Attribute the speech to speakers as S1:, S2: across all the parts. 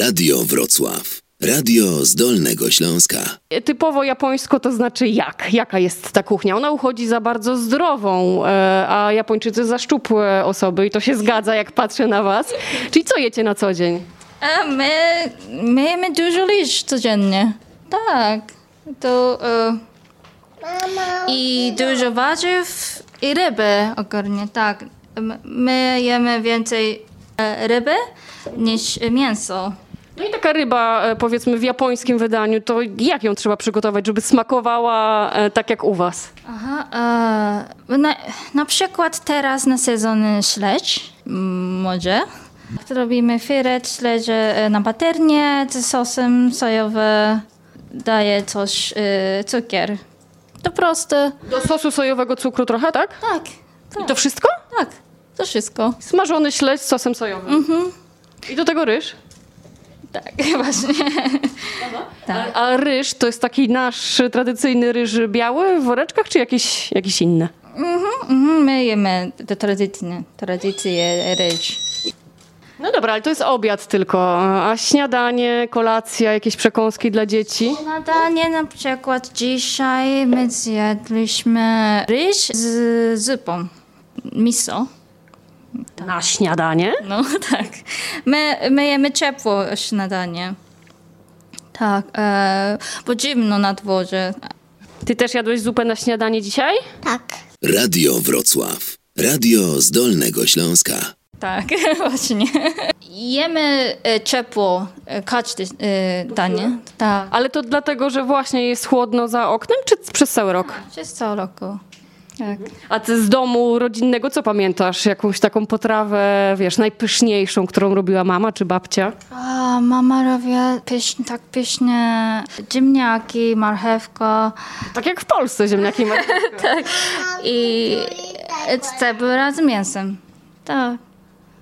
S1: Radio Wrocław. Radio z Dolnego Śląska.
S2: Typowo japońsko to znaczy jak? Jaka jest ta kuchnia? Ona uchodzi za bardzo zdrową, e, a Japończycy za szczupłe osoby i to się zgadza, jak patrzę na was. Czyli co jecie na co dzień?
S3: A my, my jemy dużo liść codziennie. Tak. To, e, I dużo warzyw i ryby ogólnie, tak. M- My jemy więcej e, ryby niż e, mięso.
S2: No i taka ryba, e, powiedzmy w japońskim wydaniu, to jak ją trzeba przygotować, żeby smakowała e, tak jak u was?
S3: Aha, e, na, na przykład teraz na sezon śledź, mm, m, może. Robimy filet, śledzie e, na paternie z sosem sojowym, daje coś, e, cukier. To proste.
S2: Do sosu sojowego cukru trochę, tak?
S3: Tak,
S2: I to wszystko?
S3: tak, to wszystko.
S2: Smażony śledź z sosem sojowym. I do tego ryż.
S3: Tak, właśnie.
S2: A, a ryż to jest taki nasz e, tradycyjny ryż biały w woreczkach, czy jakiś, jakiś inny?
S3: Mhm, My jemy te tradycyjne, tradycje ryż.
S2: No dobra, ale to jest obiad tylko. A śniadanie, kolacja, jakieś przekąski dla dzieci?
S3: Nadanie na przykład dzisiaj my zjadliśmy ryż z zupą. Miso.
S2: Na śniadanie?
S3: No tak. My, my jemy ciepło śniadanie. Tak, e, bo zimno na dworze.
S2: Ty też jadłeś zupę na śniadanie dzisiaj?
S4: Tak.
S1: Radio Wrocław. Radio z Dolnego Śląska.
S3: Tak, właśnie. Jemy e, ciepło e, każde e, danie. Tak,
S2: Ale to dlatego, że właśnie jest chłodno za oknem, czy c- przez cały rok?
S3: przez cały roku. Tak.
S2: A ty z domu rodzinnego co pamiętasz? Jakąś taką potrawę, wiesz, najpyszniejszą, którą robiła mama czy babcia?
S3: A, mama robiła pieśń, tak pieśnie ziemniaki, marchewka
S2: Tak jak w Polsce ziemniaki. ma-
S3: i e, cebula z mięsem. Tak.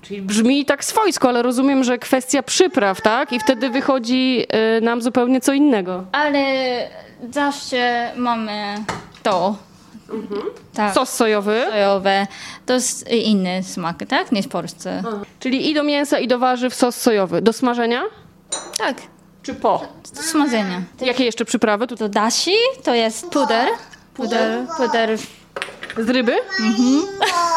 S2: Czyli brzmi tak swojsko, ale rozumiem, że kwestia przypraw, tak? I wtedy wychodzi y, nam zupełnie co innego.
S3: Ale zawsze mamy to. Tak.
S2: Sos sojowy.
S3: sojowe. To jest inny smak, tak? Niż w Polsce.
S2: Czyli i do mięsa, i do warzyw sos sojowy. Do smażenia?
S3: Tak.
S2: Czy po?
S3: Do smażenia.
S2: Jakie jeszcze przyprawy? Tu
S3: To dashi, to jest puder. Puder, puder.
S2: z ryby?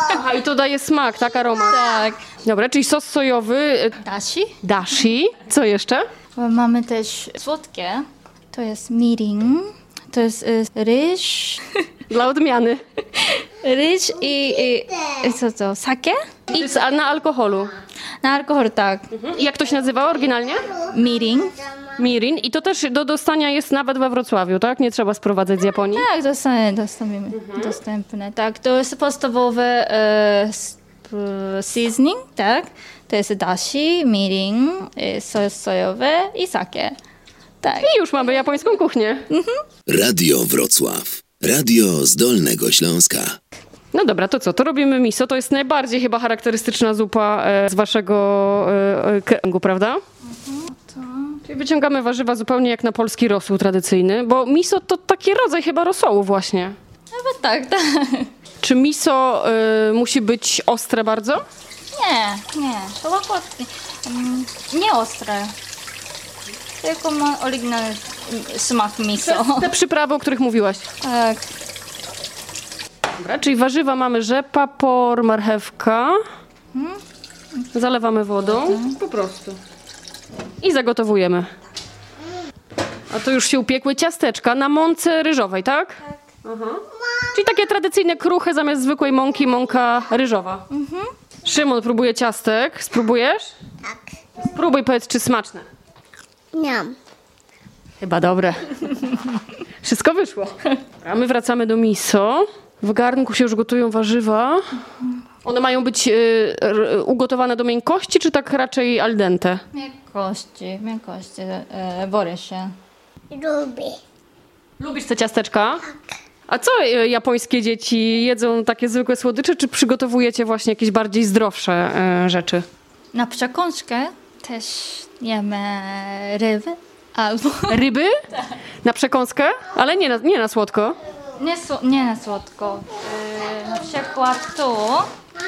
S2: Aha, i to daje smak, tak, aromat.
S3: Tak.
S2: Dobra, czyli sos sojowy, y,
S3: Dashi.
S2: dashi. Co jeszcze?
S3: Bo Mamy też słodkie. To jest mirin. To jest y, ryż.
S2: Dla odmiany.
S3: Ryż i, i, i co to? Sake?
S2: I jest a- na alkoholu.
S3: Na alkohol tak.
S2: I Jak to się nazywa oryginalnie?
S3: Mirin.
S2: Mirin. I to też do dostania jest nawet we Wrocławiu, tak? Nie trzeba sprowadzać z Japonii.
S3: Tak, dostaniemy, dostaniemy. Dostępne, tak. To jest podstawowy e, s- p- seasoning, tak? To jest dashi, mirin, e, sos sojowy i sake. Tak.
S2: I już mamy japońską kuchnię.
S1: Radio Wrocław. Radio z Dolnego Śląska.
S2: No dobra, to co? To robimy miso. To jest najbardziej chyba charakterystyczna zupa e, z waszego e, e, kręgu, prawda? Czyli wyciągamy warzywa zupełnie jak na polski rosół tradycyjny, bo miso to taki rodzaj chyba rosołu właśnie.
S3: Chyba tak, tak.
S2: Czy miso e, musi być ostre bardzo?
S3: Nie, nie. To łagodnie. Mm, Nie ostre. Tylko ma oryginalny mm, smak miso.
S2: Te przyprawy, o których mówiłaś.
S3: Tak.
S2: Dobra, czyli warzywa mamy rzepa, por, marchewka. Zalewamy wodą. Po prostu. I zagotowujemy. A to już się upiekły ciasteczka na mące ryżowej, tak? Tak. Czyli takie tradycyjne kruche zamiast zwykłej mąki, mąka ryżowa. Szymon próbuje ciastek. Spróbujesz? Mhm. Tak. Spróbuj, powiedz, czy smaczne.
S4: Miam.
S2: Chyba dobre. Wszystko wyszło. A my wracamy do miso. W garnku się już gotują warzywa. One mają być y, r, ugotowane do miękkości, czy tak raczej al dente?
S3: Miękkości, miękkości. E, boję się.
S4: Lubię.
S2: Lubisz te ciasteczka? A co y, japońskie dzieci jedzą takie zwykłe słodycze, czy przygotowujecie właśnie jakieś bardziej zdrowsze y, rzeczy?
S3: Na przekąskę też jemy ryby albo
S2: Ryby? Na przekąskę? Ale nie na, nie na słodko.
S3: nie, sło- nie na słodko. Yy, E, na przykład to,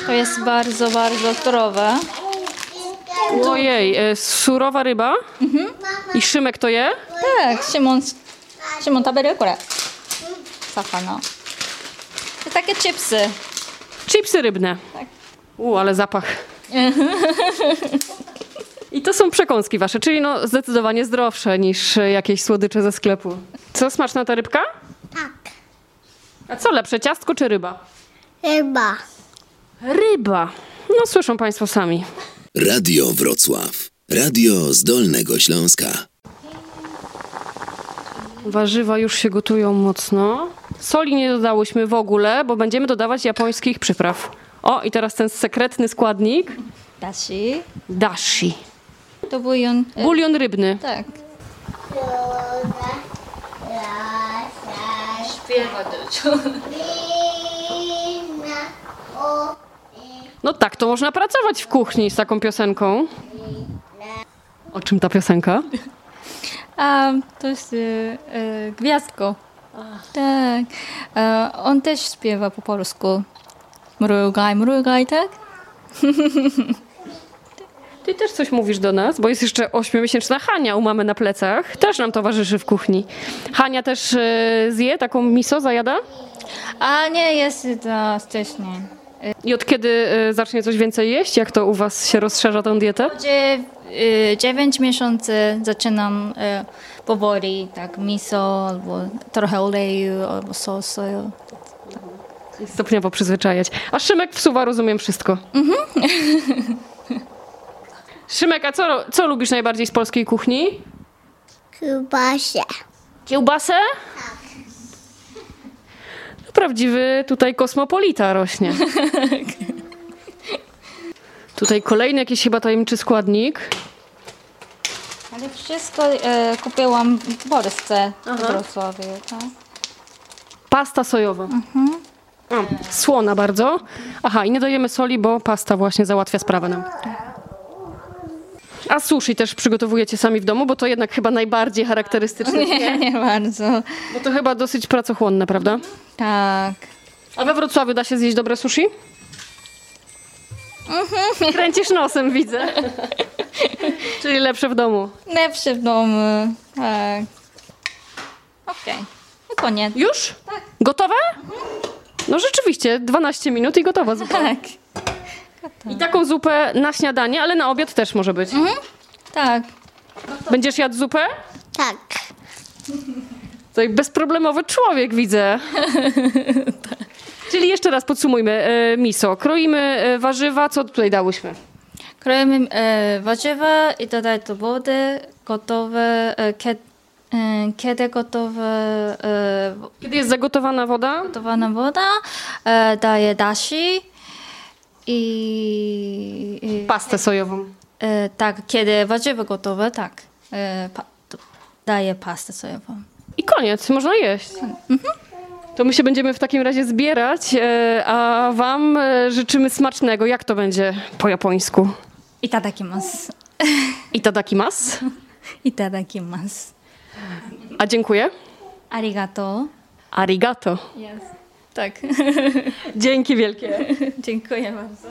S3: to jest bardzo, bardzo zdrowe.
S2: Ojej, e, surowa ryba? I Szymek to je?
S3: Tak, Szymon, Szymon tabelę kurę. Sakana. To takie chipsy.
S2: Chipsy rybne.
S3: Tak.
S2: U, ale zapach. I to są przekąski wasze, czyli no zdecydowanie zdrowsze niż e, jakieś słodycze ze sklepu. Co smaczna ta rybka?
S4: Tak.
S2: A co lepsze, ciastko czy ryba?
S4: Ryba.
S2: Ryba. No słyszą państwo sami.
S1: Radio Wrocław. Radio z Dolnego Śląska.
S2: Warzywa już się gotują mocno. Soli nie dodałyśmy w ogóle, bo będziemy dodawać japońskich przypraw. O, i teraz ten sekretny składnik.
S3: Dashi.
S2: Dashi.
S3: To bujon. e,
S2: Bulion rybny.
S3: Tak.
S4: Ruda. Lasa.
S3: Śpiewa dużo.
S4: Lina. O.
S2: No tak, to można pracować w kuchni z taką piosenką. O czym ta piosenka?
S3: A, to jest e, e, gwiazdko. Tak. E, on też śpiewa po polsku. Mrugaj, mrugaj, tak?
S2: Ty też coś mówisz do nas, bo jest jeszcze ośmiomiesięczna Hania u mamy na plecach. Też nam towarzyszy w kuchni. Hania też e, zje taką miso, zajada?
S3: A nie, jest to wcześniej.
S2: I od kiedy e, zacznie coś więcej jeść? Jak to u was się rozszerza tą dietę?
S3: Gdzie y, 9 miesięcy zaczynam e, powoli, tak, miso, albo trochę oleju, albo sosu.
S2: Stopniowo przyzwyczajać. A Szymek wsuwa, rozumiem wszystko. Szymek, a co, co lubisz najbardziej z polskiej kuchni?
S4: Chyba się.
S2: Kiełbasę? No, Tak. Prawdziwy tutaj kosmopolita rośnie. tutaj kolejny jakiś chyba tajemniczy składnik.
S3: Ale wszystko e, kupiłam w Polsce, w Wrocławiu, tak?
S2: Pasta sojowa. Mm, Słona bardzo. Aha, i nie dajemy soli, bo pasta właśnie załatwia sprawę nam. A sushi też przygotowujecie sami w domu, bo to jednak chyba najbardziej charakterystyczne.
S3: Nie, nie bardzo.
S2: Bo to chyba dosyć pracochłonne, prawda?
S3: Tak.
S2: A we Wrocławiu da się zjeść dobre sushi? Kręcisz nosem, widzę. Czyli lepsze w domu.
S3: Lepsze w domu, tak. Okej, no koniec.
S2: Już? Gotowe? No rzeczywiście, 12 minut i gotowa zupa.
S3: Tak,
S2: I taką zupę na śniadanie, ale na obiad też może być.
S3: tak.
S2: Będziesz jadł zupę?
S4: Tak.
S2: Tutaj bezproblemowy człowiek widzę. Czyli jeszcze raz podsumujmy. e, Miso, kroimy e, warzywa, co tutaj dałyśmy?
S3: Kroimy e, warzywa i dodaj do wody gotowe, e, kie, e, kiedy gotowe e,
S2: Kiedy jest zagotowana woda?
S3: gotowana woda, e, daję dashi i, i
S2: Pastę sojową.
S3: e, tak, kiedy warzywa gotowe, tak, e, pa, tu- daję pastę sojową.
S2: I koniec, można jeść. To my się będziemy w takim razie zbierać, e, a wam e, życzymy smacznego. Jak to będzie po japońsku?
S3: Itadakimasu.
S2: Itadakimasu.
S3: Itadakimasu.
S2: A dziękuję.
S3: Arigato.
S2: Arigato.
S3: Tak.
S2: Dzięki wielkie.
S3: Dziękuję bardzo.